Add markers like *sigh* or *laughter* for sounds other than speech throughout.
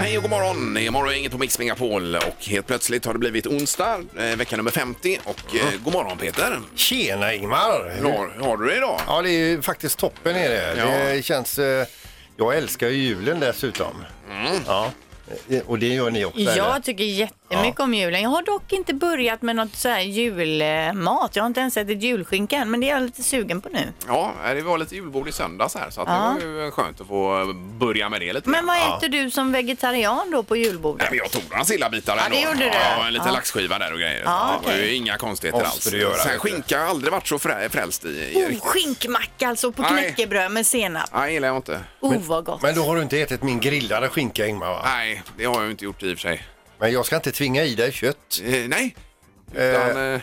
Hej och god morgon! Imorgon är inget på Mix Megapol och helt plötsligt har det blivit onsdag, eh, vecka nummer 50 och eh, god morgon Peter! Tjena Ingmar! Hur Mm. har, hur har du det idag? Ja, det är ju faktiskt toppen är det. Ja. Det känns... eh, Jag älskar ju julen dessutom. Mm. Ja. Eh, Och det gör ni också? eller? Jag tycker jättemycket om julen. Jag har dock inte börjat med något så här julmat. Jag har inte ens ätit julskinka än, men det är jag lite sugen på nu. Ja, eh, det var lite julbord i söndags här så att Ja. det var ju skönt att få börja med det lite. Men grann. vad äter du som vegetarian då på julbordet? Nej, men jag tog några sillabitar Ja, ändå. det gjorde du. Ja, en liten Ja. laxskiva där och grejer. Ja, Det var ju okej. inga konstigheter Måste alls. du göra, Sen vet du. skinka har jag aldrig varit så frä- frälst i. Oh, Erik. skinkmacka alltså på Nej. knäckebröd med senap. Nej, gillar jag inte. Oh, vad gott. Men då har du inte ätit min grillade skinka Ingmar va? Nej, det har jag ju inte gjort i och för sig. Men jag ska inte tvinga i dig kött. Eh, nej. Utan, eh,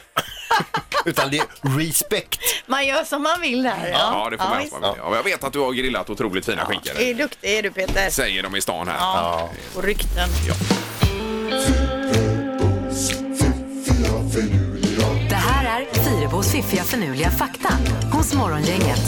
Utan det är respekt. Man gör som man vill där. ja, det får man visst. ja, ja. Jag vet att du har grillat otroligt fina skinkor. Är duktig är du Peter. Säger de i stan här. Ja, och rykten. Det här är Fyrabos fiffiga förnuliga fakta hos Morgongänget.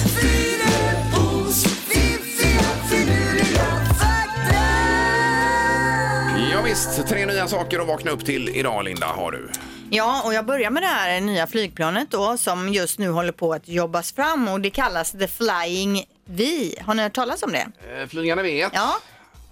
Ja, visst, tre nya saker att vakna upp till idag Linda har du. Ja, och jag börjar med det här nya flygplanet då som just nu håller på att jobbas fram och det kallas The Flying V. Har ni hört talas om det? Eh, Flygande vet. Mm. Ja,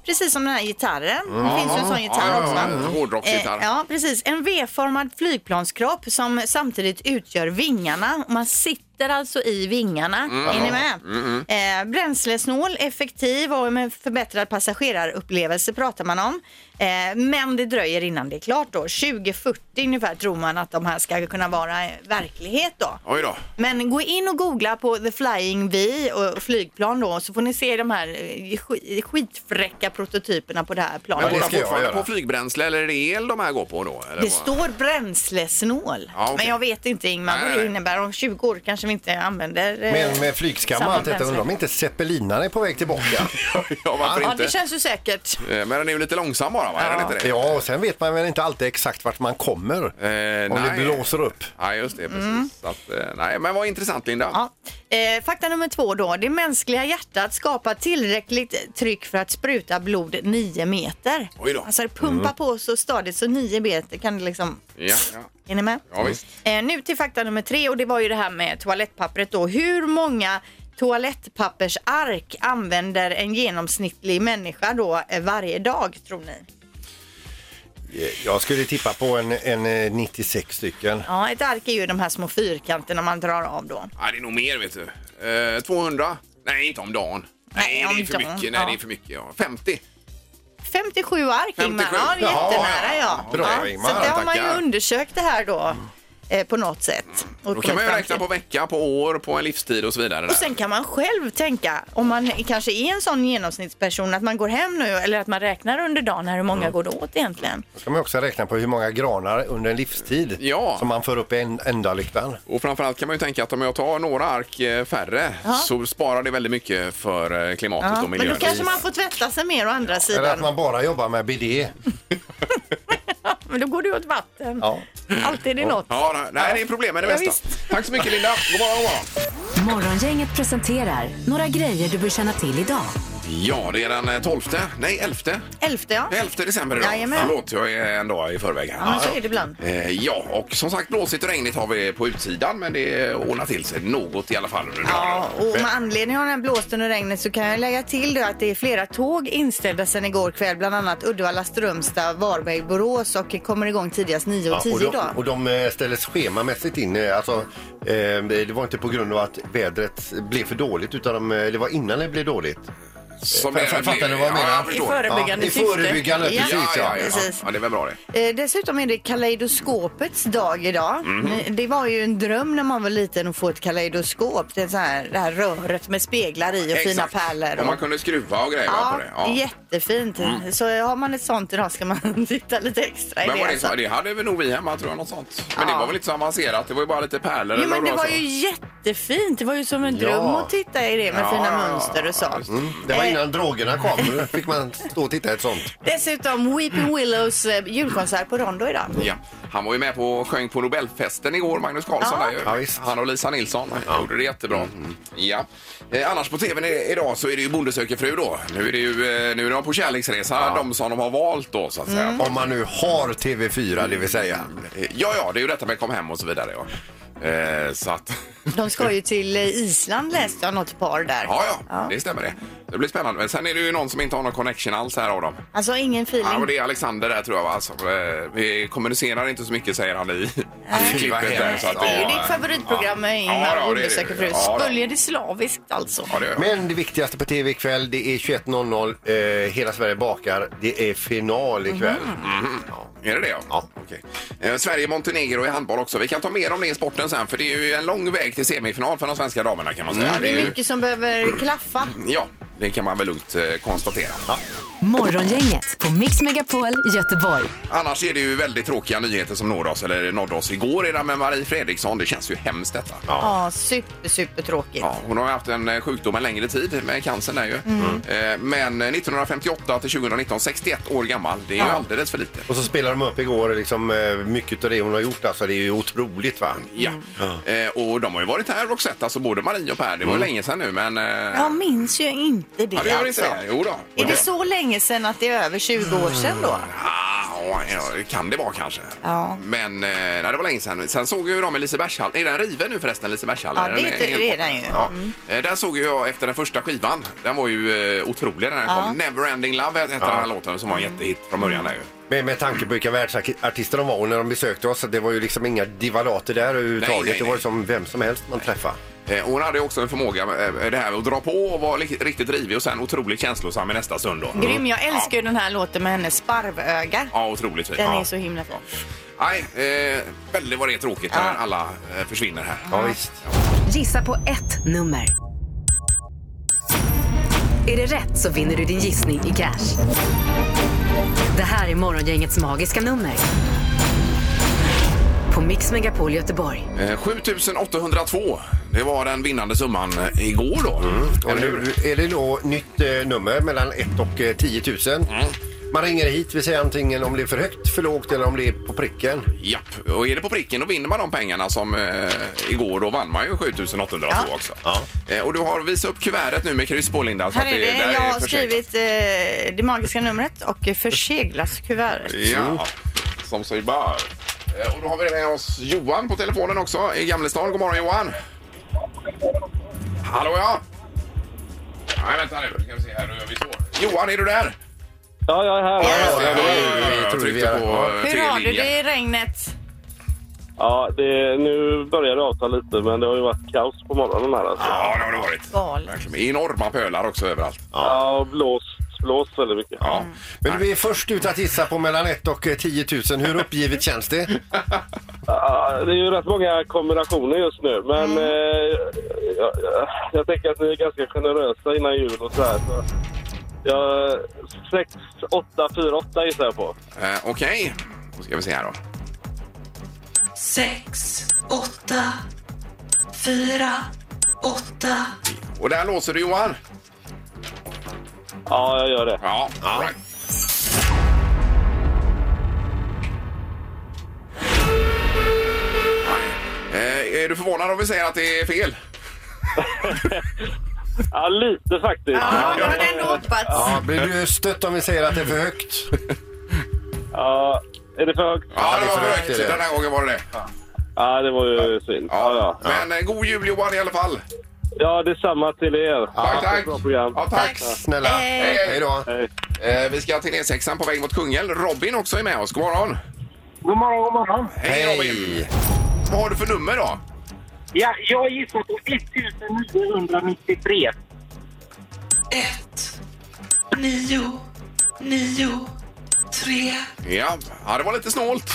precis som den här gitarren. Det finns ju en sån gitarr också. ja, ja. Hårdrocksgitarr. Eh, ja, precis. En V-formad flygplanskropp som samtidigt utgör vingarna. Man sitter alltså i vingarna. Mm. Är ni med? Eh, bränslesnål, effektiv och med förbättrad passagerarupplevelse pratar man om. Eh, men det dröjer innan det är klart då. 2040 ungefär tror man att de här ska kunna vara eh, verklighet då. Oj då. Men gå in och googla på The Flying V och flygplan då så får ni se de här eh, sk- skitfräcka prototyperna på det här Men planet. går det de ska jag fortfarande göra. på flygbränsle eller är det el de här går på då? Eller Det vad? står bränslesnål. Ja, okej. Men jag vet inte Ingmar Nej, vad nej. det innebär. Om 20 år kanske vi inte använder... eh, Men med flygskam och samma allt detta, bränsle. undrar om inte zeppelinarna är på väg tillbaka? *laughs* Ah, ja, varför Ja, inte? det känns ju säkert. Eh, Men den är ju lite långsam bara, va? Är den inte det? Ja, och sen vet man väl inte alltid exakt vart man kommer. Eh, om nej. det blåser upp. Ja, just det. Precis. Så att, eh, nej, men vad intressant, Linda. Mm. Ja. Eh, fakta nummer två då. Det mänskliga hjärtat skapar tillräckligt tryck för att spruta blod 9 meter. Oj då. Mm. Alltså det pumpar på så stadigt så 9 meter kan det liksom... Ja, ja. Är ni med? Ja, visst. Eh, nu till fakta nummer tre och det var ju det här med toalettpappret då. Hur många toalettpappersark använder en genomsnittlig människa då eh, varje dag tror ni? Jag skulle tippa på en, en eh, 96 stycken. Ja, ett ark är ju de här små fyrkanterna man drar av då. Nej, det är nog mer, vet du. Eh, 200? Nej, inte om dagen. Nej, Nej, det är om för dagen. mycket. Nej, Ja. det är för mycket. Ja. 50? 57 ark 57. Ingmar. Ja, det är Ja, jättenära ja. bra, ja. Ingmar. Så det har man ju Tackar. undersökt det här då eh, på något sätt. Och Då kommit kan man ju fram räkna till. på vecka, på år, på en livstid och så vidare. Och där. sen kan man själv tänka, om man kanske är en sån genomsnittsperson, att man går hem nu eller att man räknar under dagen här hur många Mm. går det åt egentligen. Då ska man också räkna på hur många granar under en livstid Ja. som man får upp i en, enda lyktan. Och framförallt kan man ju tänka att om jag tar några ark eh, färre Ja. så sparar det väldigt mycket för eh, klimatet Ja, och men miljön. då kanske man får tvätta sig mer å andra Eller sidan. att man bara jobbar med bidé. *laughs* Men då går det åt vatten. Ja. Alltid är det något. Ja, nej, det är problem med det Ja, mesta. Tack så mycket Linda. God morgon, god morgon. Morgongänget presenterar några grejer du bör känna till idag. Ja, det är den eh, 12, nej 11, Elfte ja. 11 december idag. Jajamän. Förlåt, jag är en dag i förväg här. Ja, men så är det ibland. Eh, Ja, och som sagt blåsigt och regnigt har vi på utsidan men det ordnar till sig något i alla fall under Ja, dagen. och med anledning av den här blåsten och regnet så kan jag lägga till då att det är flera tåg inställda sedan igår kväll, bland annat Uddevalla, Strömstad, Varberg, Borås och kommer igång tidigast 9.10 och, idag. de, och de eh, ställdes schemamässigt in. eh, Alltså, eh, det var inte på grund av att vädret blev för dåligt utan de, eh, det var innan det blev dåligt. Som Fa- fa- fattar du vad jag menar? Ja, jag I förstår. före- förebyggande ja, I syfte. förebyggande, Ja, precis. Ja, ja, ja, ja. Precis. ja, det är väl bra det. Eh, dessutom är det kaleidoskopets dag idag. Mhm. Mm, Det var ju en dröm när man var liten att få ett kaleidoskop. Det, är så här, det här röret med speglar i och fina Exakt. pärlor. Och man kunde skruva och grejer va, på det. Ja. Mm. jättefint. Så har man ett sånt idag ska man *laughs* titta lite extra i Men det. var det, alltså. så- det hade väl nog vi hemma tror jag, något sånt. Men Ja. det var väl inte så avancerat, det var ju bara lite pärlor Jo, men vad det var så. ju jätte jättefint. Det var ju som en Ja. dröm att titta i det med Ja, fina ja, Mm. mönster och så. Det var Eh, innan drogerna kom. Då fick man stå och titta i ett sånt. Dessutom Weeping Willows eh, julkonsert på Rondo idag. Ja, han var ju med på och sjöng på Nobelfesten igår, Magnus Carlsson. Ja. Där, ju. Ja, visst. Mm. han och Lisa Nilsson gjorde det jättebra. Ja. Eh, annars på tvn i- idag så är det ju Bonde söker fru då. Nu är, det ju, eh, nu är de på kärleksresa, de som de har valt då så att säga. Om man nu har TV4, Mm. det vill säga. Eh, Ja, ja, det är ju detta med kom hem och så vidare. Ja. Eh, så att, *laughs* De ska ju till eh, Island läste jag något par där. ja, ja, det stämmer det. Det blir spännande. Men sen är det ju någon som inte har någon connection alls här av dem. Alltså ingen feeling. Ja, och det är Alexander där tror jag va? Som, eh, vi kommunicerar inte så mycket säger han i, i klippet där. Så att det är ju ja, ditt favoritprogram med Ja, ja, det Ingmar är och det. Undersöker fru. Ja, det- Spöljer det slaviskt alltså. Ja, det gör jag. Men det viktigaste på TV ikväll, det är 21.00. Eh, Hela Sverige bakar. Det är final ikväll. Mm. Är det det? Ja. Ja. Okej. Eh, Sverige-Montenegro i handboll också. Vi kan ta mer om det i sporten sen för det är ju en lång väg till semifinal för de svenska damerna kan man säga. Mm, Det ju- är mycket som behöver klaffa. Ja, det kan man väl lugnt eh, konstatera. Morgongänget på Mix Megapol Göteborg. Annars är det ju väldigt tråkiga nyheter som når oss, eller nådde oss igår redan med Marie Fredriksson. Det känns ju hemskt detta. Ja, super, super tråkigt. Ja, hon har ju haft en eh, sjukdom en längre tid med cancern där ju. Mm. Eh, Men eh, 1958 till 2019, 61 år gammal. Det är ju alldeles för lite. Och så spelade de upp igår liksom, eh, mycket av det hon har gjort. Alltså, det är ju otroligt. va? Ja. Eh, Och de har ju varit här Roxette, alltså både Marie och Per. Det var ju länge sedan nu men... eh, Jag minns ju inte det. Ja, det gör alltså. inte det. Jo då. Är det så länge sedan att det är över 20 år sedan då? Ah, ja, det kan det vara kanske. Ja. Men eh, nej, det var länge sedan. Sen såg jag ju dem i Lisebergshallen. Är den riven nu förresten, Lisebergshallen? Ja, det Den är det är den ju. Mm. Ja. Eh, Där såg jag efter den första skivan. Den var ju eh, otrolig när den kom. Neverending Love hette den här låten som var en jättehit från början. Där ju. Med, med tanke på vilka världsartister de var och när de besökte oss, det var ju liksom inga divalater där överhuvudtaget. Nej, nej, Det var ju nej. som vem som helst man träffade. Eh, och Hon hade ju också en förmåga eh, det här med att dra på och vara li- riktigt rivig och sen otroligt känslosam i nästa stund. Då. Mm. Grym, jag älskar ju den här låten med hennes sparvöga. Ja, otroligt fin. Den Ja. är så himla fin. Nej, eh, väldigt vad det är tråkigt när alla eh, försvinner här. Ja, visst. Gissa på ett nummer. Är det rätt så vinner du din gissning i cash. Det här är Morgongängets magiska nummer. På Mix Megapol Göteborg. Eh, 7802. Det var den vinnande summan eh, igår då. Och Eller hur? nu är det då nytt eh, nummer mellan 1 och eh, 10 000. Mm. Man ringer hit, vi säger antingen om det är för högt, för lågt eller om det är på pricken. Japp, och är det på pricken då vinner man de pengarna som eh, igår då vann man ju 7802 också. Eh, och du har visat upp kuvertet nu med kryss på Linda. så Här att är det. där Jag har förseglat. skrivit eh, det magiska numret och förseglas kuvertet. Ja, som sig bör. Eh, och då har vi med oss Johan på telefonen också i Gamlestan. God morgon Johan! Hallå ja! Nej vänta nu, ska vi se här, nu gör vi så. Johan är du där? Ja, jag är Ja, här. ja, ja, ja, ja, jag tror vi tryckte är- på ja. eh, Hur fel har du linje. det i regnet? Ja, det, nu börjar det avta lite, men det har ju varit kaos på morgonen här. Alltså. Ja, det har det varit. Galet. Verkligen. Enorma pölar också överallt. Ja, och blåst, blåst väldigt mycket. Ja. Men du är först ut att gissa på mellan 1 och eh, 10 000. Hur uppgivet känns det? Ja, det är ju rätt många kombinationer just nu, Mm. men eh, jag, jag, jag tänker att ni är ganska generösa innan jul och så här. Så. Jag, 6, 8, 4, 8 gissar jag på. Eh, Okej, då ska vi se här då. sex, åtta, fyra, åtta. Och där låser du Johan. Ja, jag gör det. Ja, all right. Eh, Är du förvånad om vi säger att det är fel? Ja, lite faktiskt. Ja, jag hade ändå hoppats. Ja, blir du stött om vi säger att det är för högt? Ja, är det för högt? Ja, det det är var för högt, korrekt. det är det. Den här gången var det det. Ja, det var ju synd. Ja, ja. Men eh, god jul Johan i alla fall. ja detsamma till er. Tack, tack. Bra program. Ja, tack. Snälla, Hej. hej då. Hej. Eh, Vi ska till E6 på väg mot Kungälv. Robin också är med oss. God morgon. God morgon, god morgon. Hej Robin. Vad har du för nummer då? Ja, jag gissar på 1993. Ett, nio, nio, tre. Ja, ja det var lite snålt.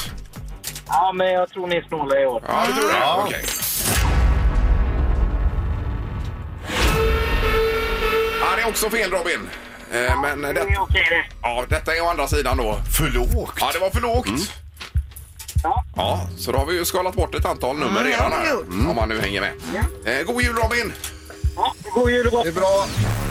Ja, men jag tror ni är snåla i år. Ja, du tror det? Okej. Ja, det är också fel Robin. Eh, Men Det det, är okej det. ja, detta är å andra sidan då. För lågt? Mm. Ja, det var för lågt. Ja. Ja, så då har vi ju skalat bort ett antal nummer det redan har vi här. gjort. Om man nu hänger med. Eh, god jul Robin! Ja, god jul och gott. Det är bra.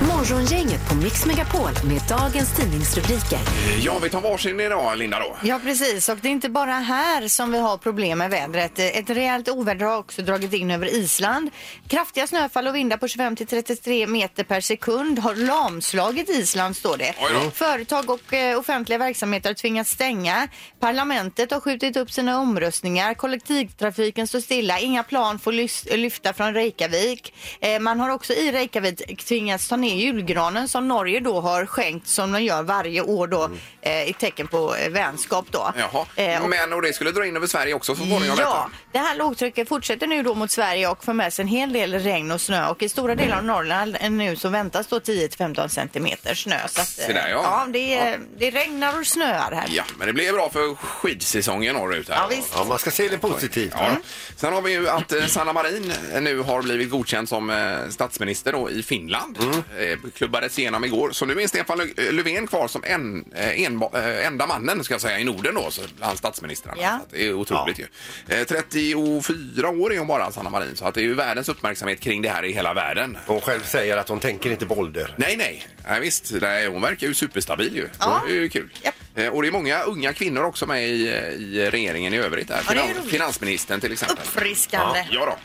Morgongänget på Mix Megapol med dagens tidningsrubriker. Eh, Ja, vi tar varsin idag Linda då. Ja, precis. Och det är inte bara här som vi har problem med vädret. Ett rejält oväder har också dragit in över Island. Kraftiga snöfall och vindar på 25 till 33 meter per sekund har lamslagit Island, står det. Oj då. Företag och eh, offentliga verksamheter har tvingats stänga. Parlamentet har skjutit upp sina omröstningar. Kollektivtrafiken står stilla. Inga plan får lys- lyfta från Reykjavik. Eh, man har också i Reykjavik tvingats ta ner julgranen som Norge då har skänkt som de gör varje år då eh, i tecken på eh, vänskap då. Jaha. Eh, och- Men och det skulle dra in över Sverige också så småningom. Ja, detta. det här lågtrycket fortsätter nu då mot Sverige och för med sig en hel del regn och snö och i stora delar av Norrland nu så väntas då 10-15 centimeter snö. Så att, eh, Se där, ja. det, är- det regnar och snöar här. Ja, men det blir bra för skidsäsongen norrut här. Ja, visst. Ja, man ska se det positivt. Ja. Mm. Sen har vi ju att eh, Sanna Marin nu har blivit godkänd som eh, statsminister då, i Finland. Mm. Eh, klubbades igenom igår. Så nu är Stefan Lö- eh, Löfven kvar som en, eh, enba- eh, enda mannen ska jag säga, i Norden då, så bland statsministrarna. Ja. Så att det är otroligt ju. Eh, 34 år är hon bara, Sanna Marin. Så att det är ju världens uppmärksamhet kring det här i hela världen. Hon själv säger att hon tänker inte på ålder. Nej, nej. nej visst, nej, hon verkar ju superstabil ju. Ja. Det är ju kul. Japp. Eh, Och det är många unga kvinnor också med i, eh, i regeringen i övrigt. Där. Ja, det är ju Finan- roligt. finansministern till exempel. Uppfriskande. Ja, ja då.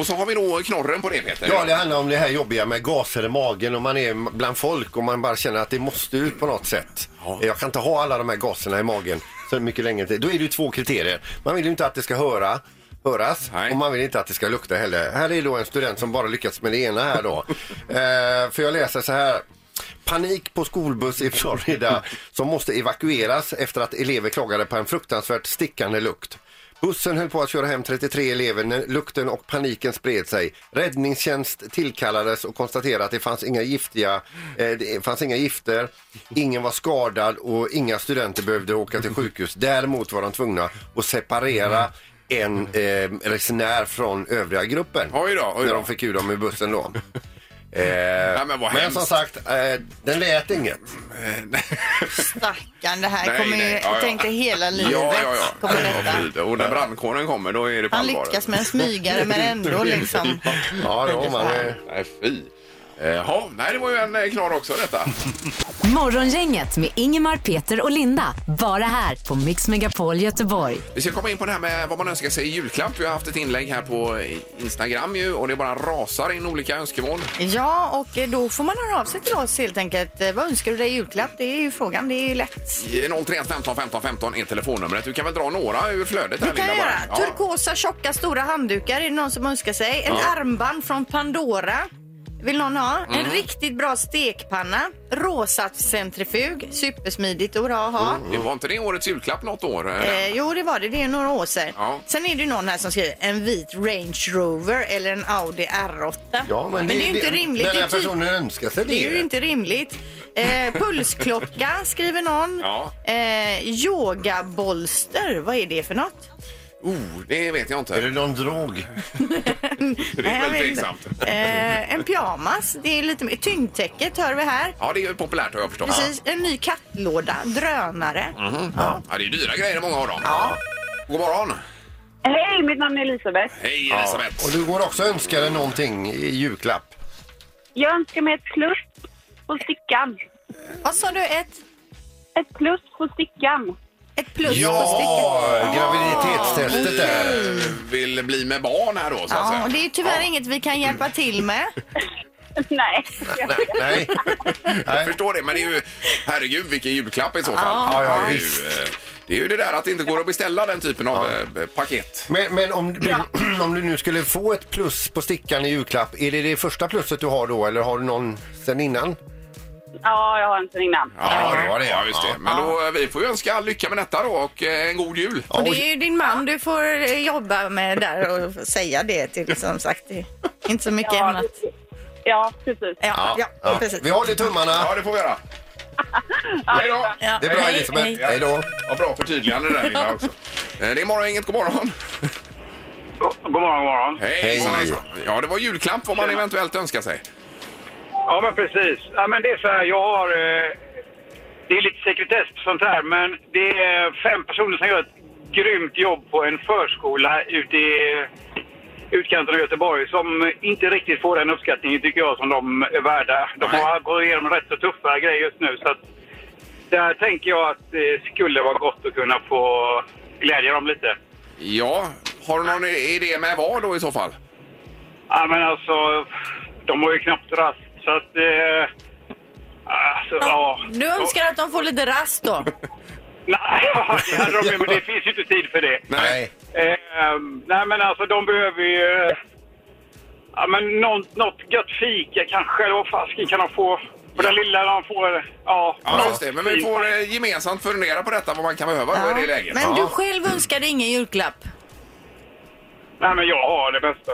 Och så har vi då knorren på det Peter. Ja, det handlar om det här jobbiga med gaser i magen och man är bland folk och man bara känner att det måste ut på något sätt. Ja. Jag kan inte ha alla de här gaserna i magen så mycket längre till. Då är det ju två kriterier. Man vill ju inte att det ska höra, höras Nej. och man vill inte att det ska lukta heller. Här är då en student som bara lyckats med det ena här då. eh, för jag läser så här. Panik på skolbuss i Florida som måste evakueras efter att elever klagade på en fruktansvärt stickande lukt. Bussen höll på att köra hem 33 elever när lukten och paniken spred sig. Räddningstjänst tillkallades och konstaterade att det fanns inga, giftiga, eh, det fanns inga gifter, ingen var skadad och inga studenter behövde åka till sjukhus. Däremot var de tvungna att separera en eh, resenär från övriga gruppen. Oj då, oj När då. de fick ur dem ur bussen då. Eh, Ja, men *laughs* vad men hemskt. som *laughs* sagt, eh, den lät inget. Stackarn, det här Nej, kommer nej, ju, ja, ja. jag tänkte hela livet Ja, ja, ja. kommer Ja, detta. fy, Och när brandkåren kommer då är det på Han allvar. lyckas med en *laughs* smygare men ändå liksom. Ja, då, man, eh, Nej, fy. Eh, Ja, nej, det var ju en eh, knorr också detta. Morgongänget med Ingemar, Peter och Linda. Bara här på Mix Megapol Göteborg. Vi ska komma in på det här med vad man önskar sig i julklapp. Vi har haft ett inlägg här på Instagram ju och det bara rasar in olika önskemål. Ja, och eh, då får man höra av sig till oss helt enkelt. Eh, Vad önskar du dig i julklapp? Det är ju frågan, det är ju lätt. 031 15 15 15 är telefonnumret. Du kan väl dra några ur flödet? Det här, kan jag Linda, göra. bara. Ja. Turkosa, tjocka, stora handdukar är det någon som önskar sig. Ett armband från Pandora vill någon ha. En riktigt bra stekpanna. Rosa centrifug. Supersmidigt att ha. Det var inte det årets julklapp något år? eh? Eh, jo, det var det. Det är några år sedan. Ja. Sen är det ju någon här som skriver en vit Range Rover eller en Audi R8. ja, men, det är ju inte rimligt. Den Det här är, typ, personen önskar sig det. det är ju inte rimligt. Eh, pulsklocka skriver någon. Ja. Eh, yogabolster, vad är det för något? Oh, det vet jag Är inte. det någon drog? Det är Nej, jag väl vet inte. tveksamt. Eh, en pyjamas, det är lite mer. Tyngdtäcket hör vi här. Ja, det är ju populärt har jag förstått. Precis, en ny kattlåda, drönare. Ja. Ja, det är dyra grejer många av dem. Ja. God morgon! Hej, mitt namn är Elisabeth. Hej Elisabeth! Och du går också och önskar dig någonting i julklapp? Jag önskar mig ett plus på stickan. Vad sa du? Ett, Ett plus på stickan. *laughs* ett plus på Ja, sticket? graviditetstestet där. Eh, Vill bli med barn här då så att Mm. Ja, säga. och det är tyvärr inget vi kan hjälpa till med. Nej. Nej. Jag förstår det, men det är ju, herregud vilken julklapp i så fall. Ja, ja, det, är visst. ju, eh, det är ju det där att det inte går att beställa den typen av eh, paket. Men, men om, du, *clears throat* om du nu skulle få ett plus på stickan i julklapp, är det det första plusset du har då eller har du någon sen innan? Ja, jag har en sen innan. Ja, det var det. Ja, just det. Men då, eh, vi får ju önska all lycka med detta då och eh, en god jul. Och det är ju din man du får eh, jobba med där och säga det till som sagt. Det är inte så mycket Ja, annat. precis. Ja, precis. Ja, ja, Ja. precis. Vi håller tummarna. Ja, det får vi *laughs* göra. Hej då! Ja, Det är bra hej, Elisabeth. hej. Hej då. Ja, bra förtydligande där Linda också. Eh, Det är morgongänget, god morgon! God morgon, god morgon. Hej! Hej. hejsan. Ja, det var julklapp vad man eventuellt önskar sig. Ja, men precis. Ja, men det är så här, jag har... Eh, det är lite sekretess och sånt här, men det är fem personer som gör ett grymt jobb på en förskola ute i utkanten av Göteborg som inte riktigt får den uppskattningen tycker jag som de är värda. De har gått igenom rätt så tuffa grejer just nu så att där tänker jag att det skulle vara gott att kunna få glädja dem lite. Ja, har du någon idé med vad då i så fall? Ja men alltså, de har ju knappt rast så att... Eh, alltså, ja. Du önskar att de får lite rast då? Nej, *laughs* det hade de ju, men det finns ju inte tid för det. Nej. Eh, nej men alltså de behöver ju... Ja men något, något gött fika kanske, eller vad fasken kan de få? På den lilla de får... Ja, Ja, just det. Men vi får eh, gemensamt fundera på detta, vad man kan behöva då i det läget. Men du själv önskar dig ingen julklapp? Nej men jag har det bästa.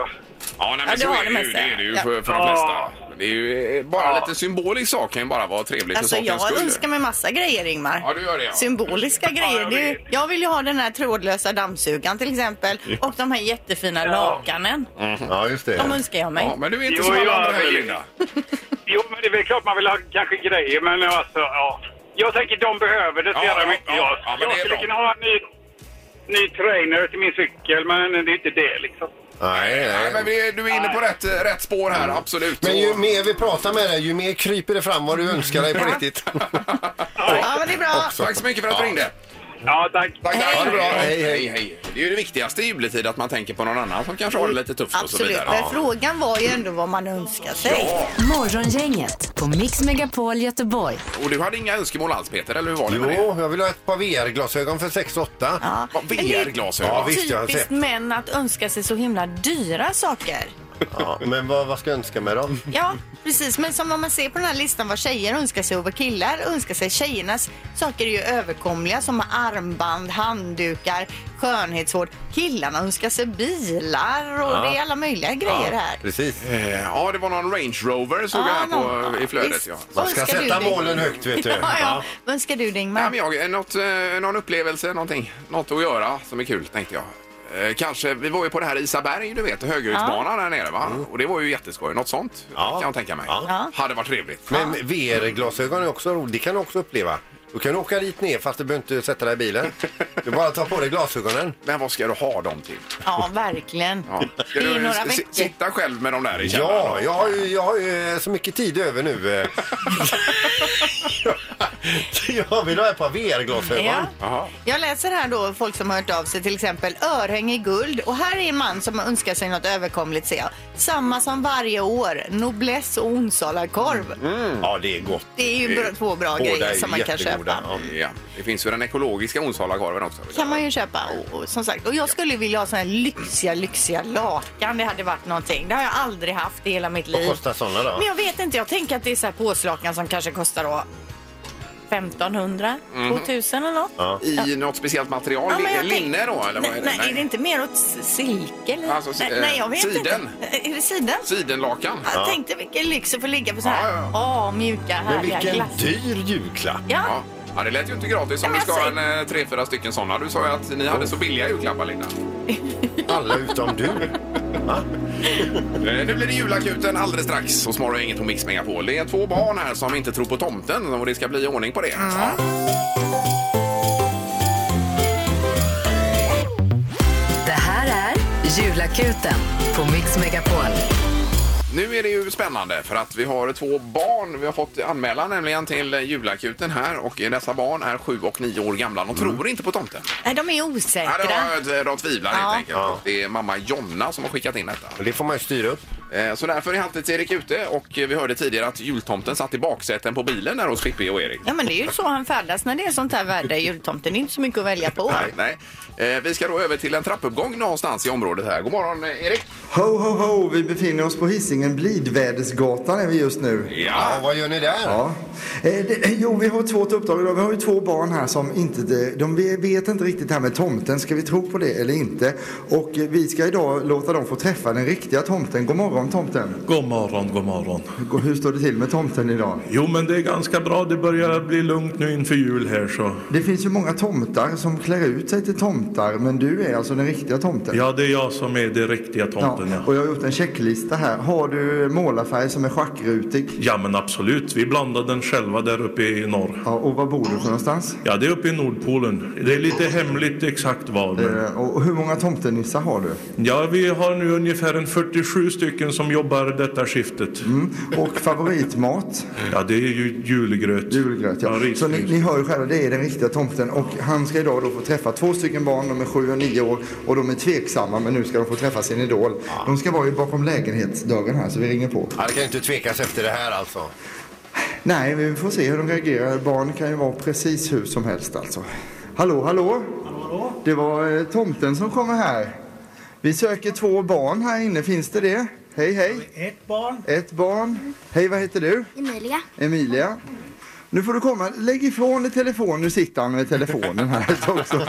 Ja, nej, men Ja, så det har är det det ju. mesta, Det är det ju ja. för, för de Ja. flesta. Men Det är ju eh, bara Ja. lite symbolisk sak kan ju bara vara trevligt Alltså för sakens jag skull. önskar mig massa grejer Ingmar. Ja, du gör det, ja. Symboliska grejer. jag Det är ju- vet. jag vill ju ha den här trådlösa dammsugaren till exempel. Och de här jättefina lakanen. Mm. Ja, just De det. önskar jag mig. Ja, men du är inte Jo, som alla jag andra här, vill- Linda. Jo men det är väl klart man vill ha kanske grejer, men alltså ja. Jag tänker de behöver det så Ja, jävla ja, mycket. ja. jag Ja, men det är jag skulle bra. kunna ha en ny, ny trainer till min cykel, men det är inte det liksom. Nej, Nej, men vi, du är inne på rätt, eh, rätt spår här, absolut. Mm. Men ju Och- mer vi pratar med dig, ju mer kryper det fram vad du önskar dig på riktigt. Ja, men det är bra. Tack så mycket för att du ringde. Ja, tack. Tack, tack. Ha det bra. Hej, Hej, hej. hej. hej. Det är ju det viktigaste i juletid, att man tänker på någon annan som kanske har det lite tufft och så Absolut, vidare. men frågan var ju ändå vad man önskar sig. Morgongänget på Mix Megapol Göteborg. Och du hade inga önskemål alls, Peter, eller hur var det med det? Jo, *laughs* jag vill ha ett par VR-glasögon för 6 8. Ja. Vad, Men det är VR-glasögon? Ja, visst, jag har Typiskt sett. män att önska sig så himla dyra saker. Ja, men vad, vad ska jag önska mig då? Ja, precis. Men som om man ser på den här listan vad tjejer önskar sig och vad killar önskar sig. Tjejernas saker är ju överkomliga som armband, handdukar, skönhetsvård. Killarna önskar sig bilar och det är alla möjliga grejer här. Precis. Eh, Ja, det var någon Range Rover såg jag här på, eh, någon- i flödet. Ah, visst. Ja. Man ska Önskar du sätta dig? målen högt, vet du. Ja, ja. Vad önskar du dig, Nej, Ingmar? men jag, eh, något, eh, någon upplevelse, någonting, något att göra som är kul tänkte jag. Eh, Kanske, vi var ju på det här Isaberg, du vet, höghöjdsbanan där nere va? Och det var ju jätteskoj. Något sånt Mm. Ja. kan jag tänka mig. Ja. Hade varit trevligt. Men VR-glasögon är också roligt. Det kan du också uppleva. Du kan åka dit ner fast du behöver inte sätta dig i bilen. Du bara tar på dig glasögonen. Men vad ska du ha dem till? Ja, verkligen. *laughs* Ja. Ska Det är du några s- veckor. sitta själv med dem där i källaren? Ja, jag har ju, jag har ju eh, så mycket tid över nu. *laughs* eh. *laughs* Så jag vill ha ett par VR-glasögon. Ja. Jaha. Jag läser här då folk som har hört av sig, till exempel örhänge i guld. Och här är en man som önskar sig något överkomligt ser jag. Samma som varje år, noblesse och onsalakorv. Ja, det är gott. Det är ju Det är- bra, två bra Båda grejer är som man kan jättegoda, köpa. ja. Ja, det finns ju den ekologiska Onsalakorven också. kan man ju köpa. Och, och, som sagt, och jag skulle vilja ha såna här lyxiga, lyxiga lakan. Det hade varit någonting. Det har jag aldrig haft i hela mitt Vad liv. kostar sådana då? Men jag vet inte, jag tänker att det är så här påslakan som kanske kostar då 1500, Mm. 2000 eller något. Ja. I något speciellt material? Ja, men jag Linne tänk- då? Eller vad är nej, det? nej, är det inte mer åt s- silke? Eller? Alltså, s- nej, eh, nej, jag vet siden. inte. Eh, Är det siden? Sidenlakan? Jag tänkte vilken lyx att få ligga på så här Ja, ja, typ? Åh, mjuka, Men härliga vilken glass. dyr julklapp. Ja. Ja. ja, det lät ju inte gratis om Nej, du men ska ha jag en eh, tre, fyra stycken sådana. Du sa ju att ni hade så billiga julklappar, Linda. Alla utom du. Eh, Nu blir det julakuten alldeles strax hos Morgongänget på Mix Megapol. Det är två barn här som inte tror på tomten och det ska bli ordning på det. Ja. Det här är Julakuten på Mix Megapol. Nu är det ju spännande för att vi har två barn. Vi har fått anmälan nämligen till eh, julakuten här och dessa barn är sju och nio år gamla. De tror inte på tomten. Nej, de är Nej, osäkra. de, eh, de, de tvivlar helt Ja. enkelt. Och Det är mamma Jonna som har skickat in detta. Det får man ju styra upp. Eh, Så därför är alltid Erik ute och eh, vi hörde tidigare att jultomten satt i baksäten på bilen där hos Pippi och Erik. Ja, men det är ju så han färdas när det är sånt här väder. Jultomten det är inte så mycket att välja på. Nej. Eh, Vi ska då över till en trappuppgång någonstans i området här. God morgon eh, Erik! Ho, ho, ho! Vi befinner oss på Hisingen Blidvädersgatan är vi just nu. Ja, vad gör ni där? Ja. Eh, det, jo, vi har två uppdrag idag. Vi har ju två barn här som inte, de- de vet inte riktigt det här med tomten. Ska vi tro på det eller inte? Och eh, vi ska idag låta dem få träffa den riktiga tomten. God morgon tomten! God morgon, god morgon. Gå- Hur står det till med tomten idag? Jo, men det är ganska bra. Det börjar bli lugnt nu inför jul här så. Det finns ju många tomtar som klär ut sig till tomtar, men du är alltså den riktiga tomten. Ja, det är jag som är det riktiga tomten. Ja. Och jag har gjort en checklista här. Har du målarfärg som är schackrutig? Ja, men absolut. Vi blandade den själva där uppe i norr. Ja, och var bor du för någonstans? Ja, det är uppe i Nordpolen. Det är lite hemligt exakt var. Men... Eh, Och hur många tomtenissar har du? Ja, vi har nu ungefär en 47 stycken som jobbar detta skiftet. Och favoritmat? Ja, det är ju julgröt. Julgröt, ja. Så ni, ni hör ju själva, det är den riktiga tomten. Och han ska idag då få träffa två stycken barn, de är sju och nio år. Och de är tveksamma, men nu ska de få träffa sin idol. De ska vara ju bakom lägenhetsdörren här, så vi ringer på. Ja, det kan ju inte tvekas efter det här alltså. Nej, vi får se hur de reagerar. Barn kan ju vara precis hur som helst alltså. Hallå, hallå? Det var eh, tomten som kommer här. Vi söker två barn här inne, finns det det? Hej, hej. Ett barn. Ett barn. Hej, vad heter du? Emilia. Emilia. Nu får du komma. Lägg ifrån dig telefonen. Nu sitter han med telefonen här också.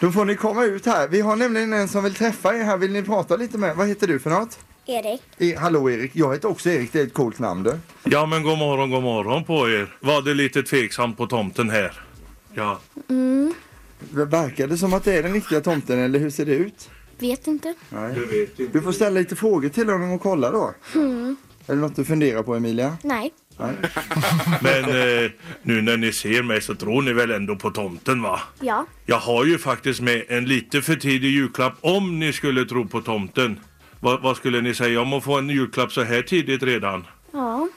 Då får ni komma ut här. Vi har nämligen en som vill träffa er här. Vill ni prata lite med? Vad heter du för något? Erik. E- Hallå Erik. Jag heter också Erik. Det är ett coolt namn du. Ja, men god morgon, god morgon på er. Var det lite tveksamt på tomten här? Ja. Mm, Verkar det som att det är den riktiga tomten eller hur ser det ut? vet inte. Nej. Du får ställa lite frågor till honom och kolla då. Mm, Är det något du funderar på Emilia? nej. Men eh, nu när ni ser mig så tror ni väl ändå på tomten, va? Ja. Jag har ju faktiskt med en lite för tidig julklapp om ni skulle tro på tomten. Va, vad skulle ni säga om att få en julklapp så här tidigt redan? Ja.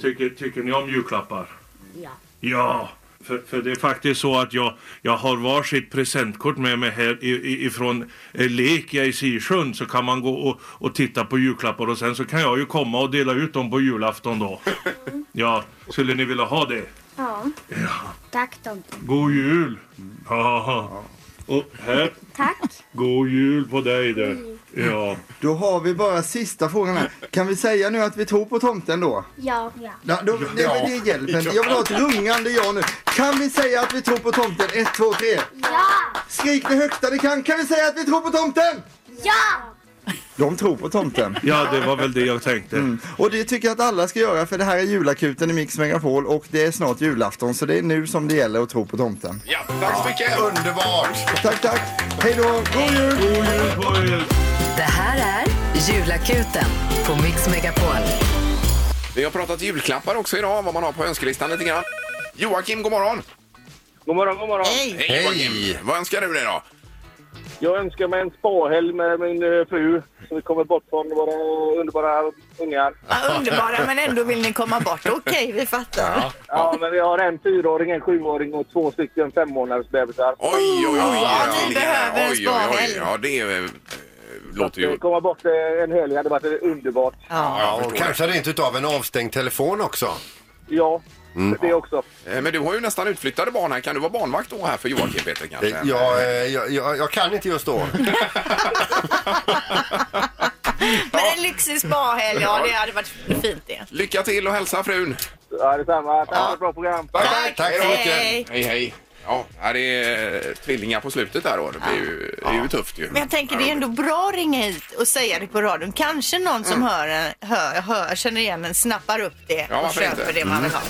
Tycker, tycker ni om julklappar? Ja. Ja, för, för det är faktiskt så att jag, jag har varsitt presentkort med mig här i- i- ifrån eh, Lekia i Sirsund så kan man gå och, och titta på julklappar och sen så kan jag ju komma och dela ut dem på julafton då. Ja, skulle ni vilja ha det? Ja. Tack tomten. God jul! Ja. Och här. Tack. Mm. God jul på dig du. Ja. Då har vi bara sista frågan här. Kan vi säga nu att vi tror på tomten då? Ja. ja. Ja, då, det, Ja. det hjälper inte. Jag vill ha ett rungande ja nu. Kan vi säga att vi tror på tomten? Ett, två, tre. Skrik det högsta ni kan. Kan vi säga att vi tror på tomten? Ja! De tror på tomten. Mm. ja, det var väl det jag tänkte. Och det tycker jag att alla ska göra för det här är julakuten i Mix Megapol och det är snart julafton så det är nu som det gäller att tro på tomten. Ja, tack så mycket. Underbart. Tack, tack. Hej då. God jul. God jul på er. Det här är Julakuten på Mix Megapol. Vi har pratat julklappar också idag, vad man har på önskelistan lite grann. Joakim, god morgon! God morgon, god morgon. Hej! Joakim! Vad önskar du dig då? Jag önskar mig en spahelg med min eh, fru så vi kommer bort från våra underbara ungar. Ja, underbara, men ändå vill ni komma bort. Okej, vi fattar. Ja, men vi har en fyraåring, en sjuåring och två stycken femmånadersbebisar. Oj, oj, oj! vi oj, behöver en oj, oj, oj. Ja, det är, eh, låter ju... Komma bort eh, en helg hade varit underbart. Ja, och kanske rent utav en avstängd telefon också. Ja, Mm. det också. Eh, Men du har ju nästan utflyttade barn här. Kan du vara barnvakt då här för Joakim Peter kanske? Eh, Jag, eh, jag, jag, jag kan inte just då. *laughs* Men en lyxig spahelg, ja det hade varit fint det. Lycka till och hälsa frun! Ja, detsamma. Tack för ett bra program. Tack, tack, Tack så mycket. Hej. Hej, hej! Ja, här är eh, tvillingar på slutet där då. Det blir ju, det är ju tufft ju. Men jag tänker det är ändå bra att ringa hit och säga det på radion. Kanske någon som hör, en, hör, hör, känner igen en snappar upp det Ja, och varför köper inte? det man vill ha.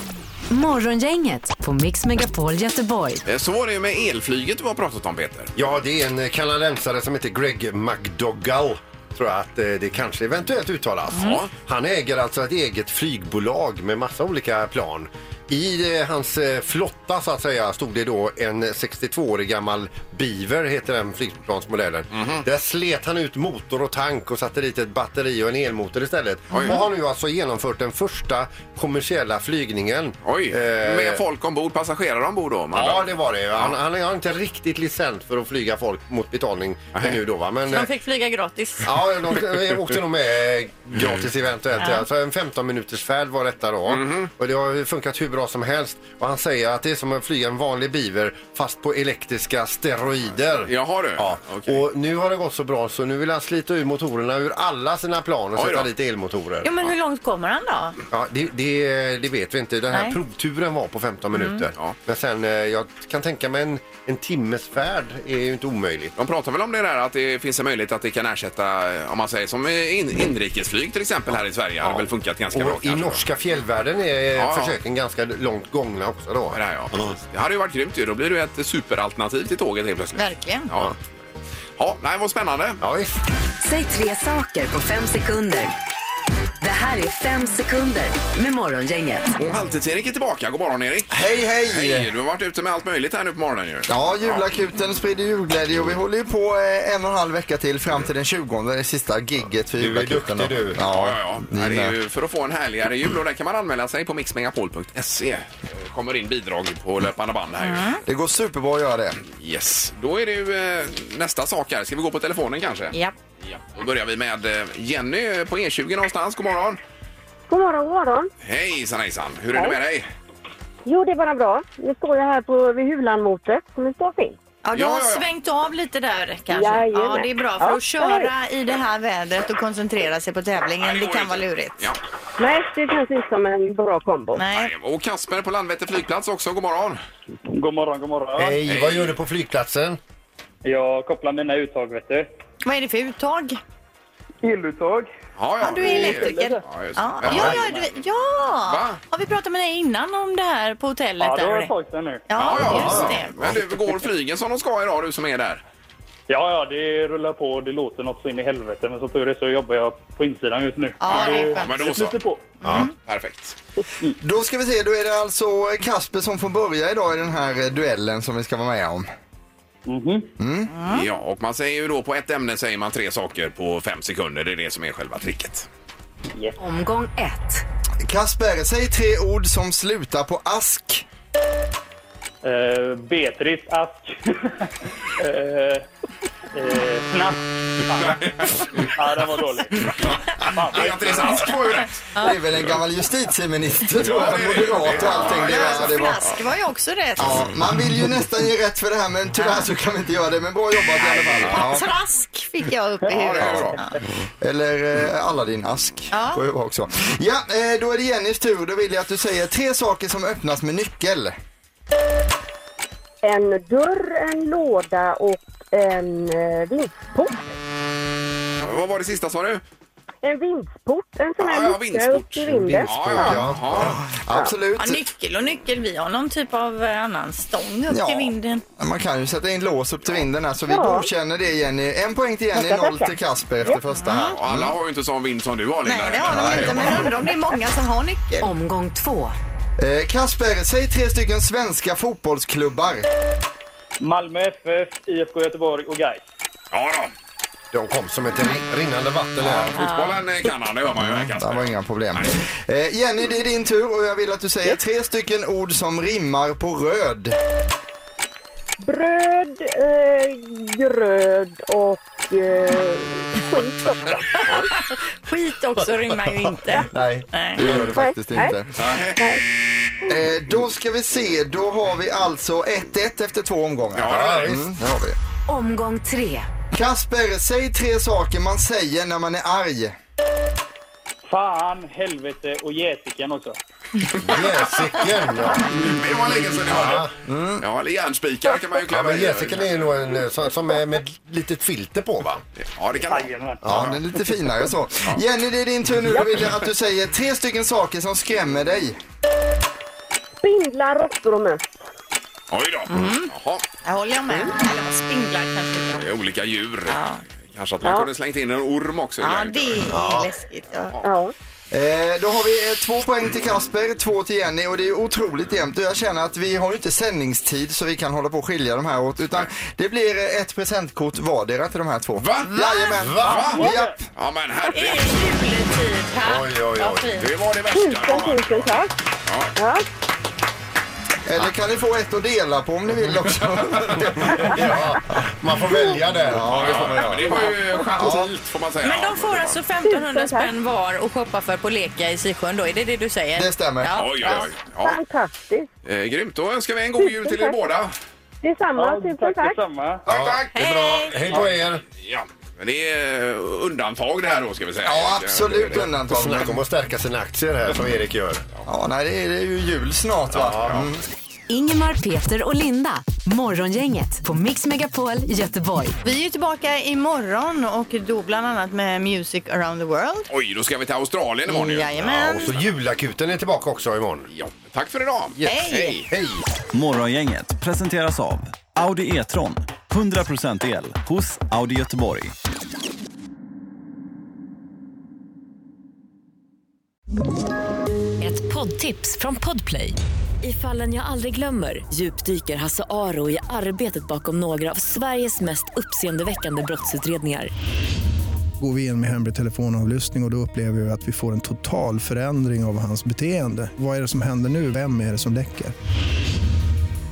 Morgongänget på Mix Megapol Göteborg. Eh, Så var det ju med elflyget du har pratat om Peter. Ja, det är en eh, kanadensare som heter Greg McDougall. Tror jag att eh, det kanske eventuellt uttalas. Mm. Han äger alltså ett eget flygbolag med massa olika plan. I eh, hans eh, flotta så att säga stod det då en 62-årig gammal Beaver heter den flygplansmodellen. Mhm. Där slet han ut motor och tank och satte dit ett batteri och en elmotor istället. Och har nu alltså genomfört den första kommersiella flygningen. Oj, Eh, med folk ombord, passagerare ombord då? man Ja, bara- det var det. Han, han har inte riktigt licens för att flyga folk mot betalning nu då. Va? Men, eh, De fick flyga gratis. Ja, de åkte nog med eh, gratis eventuellt. Ja. Ja. Så en 15 minuters färd var detta då. Och det har funkat hur bra som helst. Och han säger att det är som att flyga en vanlig beaver fast på elektriska steroider. Jaha du. Ja. Okej. Och nu har det gått så bra så nu vill han slita ur motorerna ur alla sina plan och Oj då. sätta dit elmotorer. Ja, men hur långt kommer han då? Ja, det, det, det vet vi inte. Den här Nej. provturen var på 15 minuter. Ja. Men sen, eh, jag kan tänka mig en, en timmes färd är ju inte omöjligt. De pratar väl om det där att det finns en möjlighet att det kan ersätta, eh, om man säger som eh, in, inrikesflyg till exempel här i Sverige. Det hade väl funkat ganska bra Och i kanske. norska fjällvärlden är ja. försöken ganska långt gångna också då. Ja, det här, ja. precis. Det hade ju varit grymt ju. Då blir det ju ett superalternativ till tåget helt plötsligt. Verkligen. Ja. Ja, nej, vad spännande. Ja, visst. Säg tre saker på fem sekunder. Det här är fem sekunder med Morgongänget. Och Halvtids-Erik är tillbaka. God morgon Erik! Hej, hej! Hej! Du har varit ute med allt möjligt här nu på morgonen ju. Ja, julakuten sprider julglädje och vi håller ju på eh, en och en halv vecka till fram till den 20 det sista gigget för julakuten. då. Ja, Ja, ja, ni ja. Det är med. ju för att få en härligare jul och där kan man anmäla sig på mixmegapol.se. Eh, kommer in bidrag på löpande band här Mm. ju. Det går superbra att göra det. Yes, då är det ju eh, nästa sak här. Ska vi gå på telefonen kanske? Ja. Då börjar vi med eh, Jenny på E20 någonstans. God morgon! God morgon, god morgon. Hejsan hejsan! Hur är det med dig? Jo, det är bara bra. Nu står jag här på, vid Hulanmotet, så nu står jag fint. Ja, du har svängt av lite där kanske. Ja, Jajamän. det är bra för Ja, att köra i det här vädret och koncentrera sig på tävlingen. Det kan vara lurigt. Nej, det känns inte som en bra kombo. Nej. Och Kasper på Landvetter flygplats också. God morgon! God morgon, god morgon. Hej, vad gör du på flygplatsen? Jag kopplar mina uttag, vet du. Vad är det för uttag? Eluttag. Ja, du är elektriker. Ja, just det. Ja, ja, ja, du, ja. Har vi pratat med dig innan om det här på hotellet? Ja, det där var och ett tag sedan nu. Ja, Ja, just ja. det. Men du, går flygen som de ska idag du som är där? Ja, ja, det rullar på. Det låter något så in i helvete. Men som tur är så jobbar jag på insidan just nu. Ja, Men det är skönt. Ja, men då så. flyter på. Mm. Ja, perfekt. Då ska vi se, då är det alltså Kasper som får börja idag i den här eh, duellen som vi ska vara med om. Mm. Ja, och man säger ju då på ett ämne säger man tre saker på fem sekunder. Det är det som är själva tricket. Omgång ett. Kasper, säg tre ord som slutar på ask. Eh, Beatrice Ask. Eh, eh, Snask. Fan. Ja, den var dålig. Fan. Beatrice Ask var ju rätt. Det är väl en gammal justitieminister tror jag, moderat och allting. Det Ja, var, det var. Alltså, Flask var ju också rätt. Ja, man vill ju nästan ge rätt för det här men tyvärr så kan vi inte göra det. Men bra jobbat i alla fall. Ja. Patrask fick jag upp i huvudet. Ja. Eller eh, Aladdin-ask. Ja. Får ju vara också. Ja, eh, då är det Jennys tur. Då vill jag att du säger tre saker som öppnas med nyckel. En dörr, en låda och en eh, vindsport. Vad var det sista sa du? En vindsport, en sån här Ja, ja, lucka upp i vindsport. vinden. Ja, ja, ja. Absolut. Ja, nyckel och nyckel. Vi har någon typ av eh, annan stång upp Ja. till vinden. Man kan ju sätta in lås upp till vinden här så vi Ja. godkänner det Jenny. En poäng till Jenny, Tackar, noll tackar. till Kasper efter första här. Och alla har ju inte sån vind som du har Linda. Nej, det har de inte. Men jag undrar om det är många som har nyckel. Omgång två. Eh, Kasper, säg tre stycken svenska fotbollsklubbar. Malmö FF, IFK Göteborg och Gais. Ja då. De kom som ett ri- rinnande vatten här. Fotbollen eh, kan han, det hör man ju här Det Kasper. var inga problem. Eh, Jenny, det är din tur och jag vill att du säger tre stycken ord som rimmar på röd. Bröd, eh, gröd och eh, skit också. Skit också rimmar ju inte. Nej, Nej. det gör det faktiskt Nej. inte. Eh, då ska vi se, då har vi alltså 1-1 efter två omgångar. Ja, Mm, visst. det har vi. Omgång tre. Kasper, säg tre saker man säger när man är arg. Fan, helvete och jäsiken också. Jäsiken, ja. Det var länge sedan jag hörde. Ja, eller järnspikar kan man ju Ja, klämma men i. jäsiken är nog en eh, som, som är med litet filter på va? Ja, det kan Ja, den är lite finare så. Jenny, det är din tur nu. Då vill jag att du säger tre stycken saker som skrämmer dig. Spindlar, råttor och möss. Oj då. Jaha, Jag håller jag med. Eller vad spindlar kanske. det är olika djur. Kanske att man Ja. kunde slängt in en orm också. i Ja, där. det är Ja. läskigt. Ja. Eh, då har vi eh, två poäng till Kasper, två till Jenny och det är otroligt jämnt. Och Jag känner att vi har ju inte sändningstid så vi kan hålla på och skilja de här åt utan det blir eh, ett presentkort vardera till de här två. Va? Jajamän. Va? Ja. Ja, men herregud. Oj, oj, oj. Det var det Tusen, värsta. tusen tack. Ja. Eller kan ni få ett att dela på om ni vill också. ja, man får välja det. Ja, det får man Men det var ju gentilt får man säga. Men de får alltså 1500 spänn var och shoppa för på Leka i Sisjön då? Är det det du säger? Det stämmer. Ja. Oj, oj, oj. Ja. Fantastiskt. Eh, grymt, då önskar vi en god jul till er båda. Detsamma, tusen tack. Detsamma. Tack, tack. Det är bra. Hej på er. Ja, men det är eh, undantag det här då ska vi säga. Ja, absolut Det- det- undantag. Snacka om att stärka sina aktier här som Erik gör. Ja, nej, det är, det är ju jul snart va? Mm. Ingemar, Peter och Linda. Morgongänget på Mix Megapol Göteborg. Vi är ju tillbaka imorgon och då bland annat med Music around the world. Oj, då ska vi till Australien imorgon ju. Mm, Jajamän. Och så julakuten är tillbaka också imorgon. Ja, tack för idag. Hej. Hej. Morgongänget presenteras av Audi E-tron. 100% el hos Audi Göteborg. Ett poddtips från Podplay. I fallen jag aldrig glömmer djupdyker Hasse Aro i arbetet bakom några av Sveriges mest uppseendeväckande brottsutredningar. Går vi in med hemlig telefonavlyssning och, och då upplever vi att vi får en total förändring av hans beteende. Vad är det som händer nu? Vem är det som läcker?